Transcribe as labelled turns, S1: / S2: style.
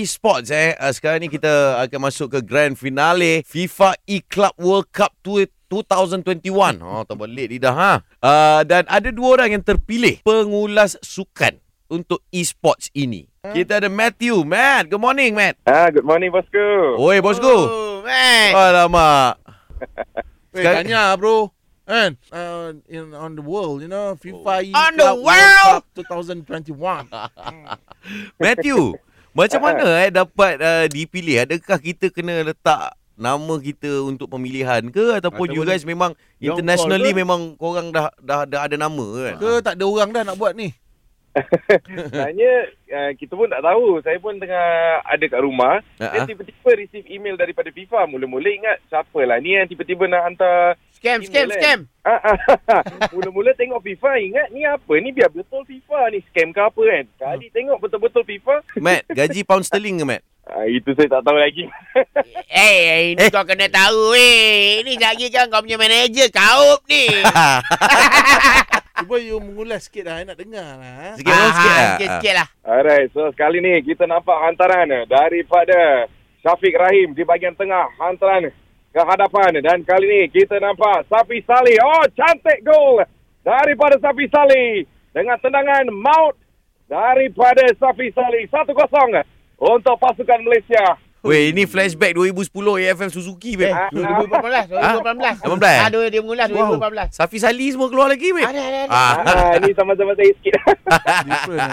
S1: e-sports eh. Uh, sekarang ni kita akan masuk ke grand finale FIFA E-Club World Cup tu 2021. Oh, tak boleh lidah ha. Uh, dan ada dua orang yang terpilih pengulas sukan untuk e-sports ini. Kita ada Matthew. Matt, good morning, Matt.
S2: Ah, good morning bosku.
S1: Oi, bosku.
S3: Oh,
S4: Eh,
S3: man.
S1: Alamak.
S3: Weh,
S1: Sekarang-
S3: tanya bro. And uh, in on the world, you know, FIFA E
S1: On the
S3: Club
S1: world?
S3: Cup 2021.
S1: Matthew, macam mana eh dapat uh, dipilih? Adakah kita kena letak nama kita untuk pemilihan ke ataupun
S3: Atau
S1: you
S3: boleh
S1: guys memang
S3: Yang
S1: internationally
S3: call ke?
S1: memang korang dah dah dah ada nama kan?
S3: Ke tak ada orang dah nak buat ni?
S2: Sebenarnya uh, kita pun tak tahu. Saya pun tengah ada kat rumah.
S1: Ha.
S2: Saya tiba-tiba receive email daripada FIFA. Mula-mula ingat siapalah ni yang tiba-tiba nak hantar.
S3: Scam,
S2: scam, scam. Ah, ah, Mula-mula tengok FIFA ingat ni apa? Ni biar betul FIFA ni scam ke apa kan? Kali tengok betul-betul FIFA.
S1: Matt, gaji pound sterling ke Matt?
S2: Ah, itu saya tak tahu lagi.
S4: Eh, eh,
S1: Eh.
S4: ini kau kena tahu eh. Ini lagi kan kau punya manager kaup ni.
S3: Cuba you mengulas sikit lah. I nak dengar lah. ha.
S1: Sikit ah, sikit
S4: Ah,
S1: lah. Ah.
S4: sikit-sikit lah.
S2: Alright, so sekali ni kita nampak hantaran daripada Syafiq Rahim di bahagian tengah hantaran ke hadapan dan kali ni kita nampak Safi Saleh. Oh, cantik gol daripada Safi Saleh dengan tendangan maut daripada Safi Saleh. 1-0 untuk pasukan Malaysia.
S1: Weh, ini flashback 2010 AFM Suzuki
S3: Eh,
S1: babe.
S4: 2018, 2018.
S1: 18?
S4: Ah, dua- dia mengulas 2018.
S1: Safi Sali semua keluar lagi babe.
S4: Ada, ada, ada.
S1: Ah.
S2: Ah, ni sama-sama saya sikit.
S3: Different lah.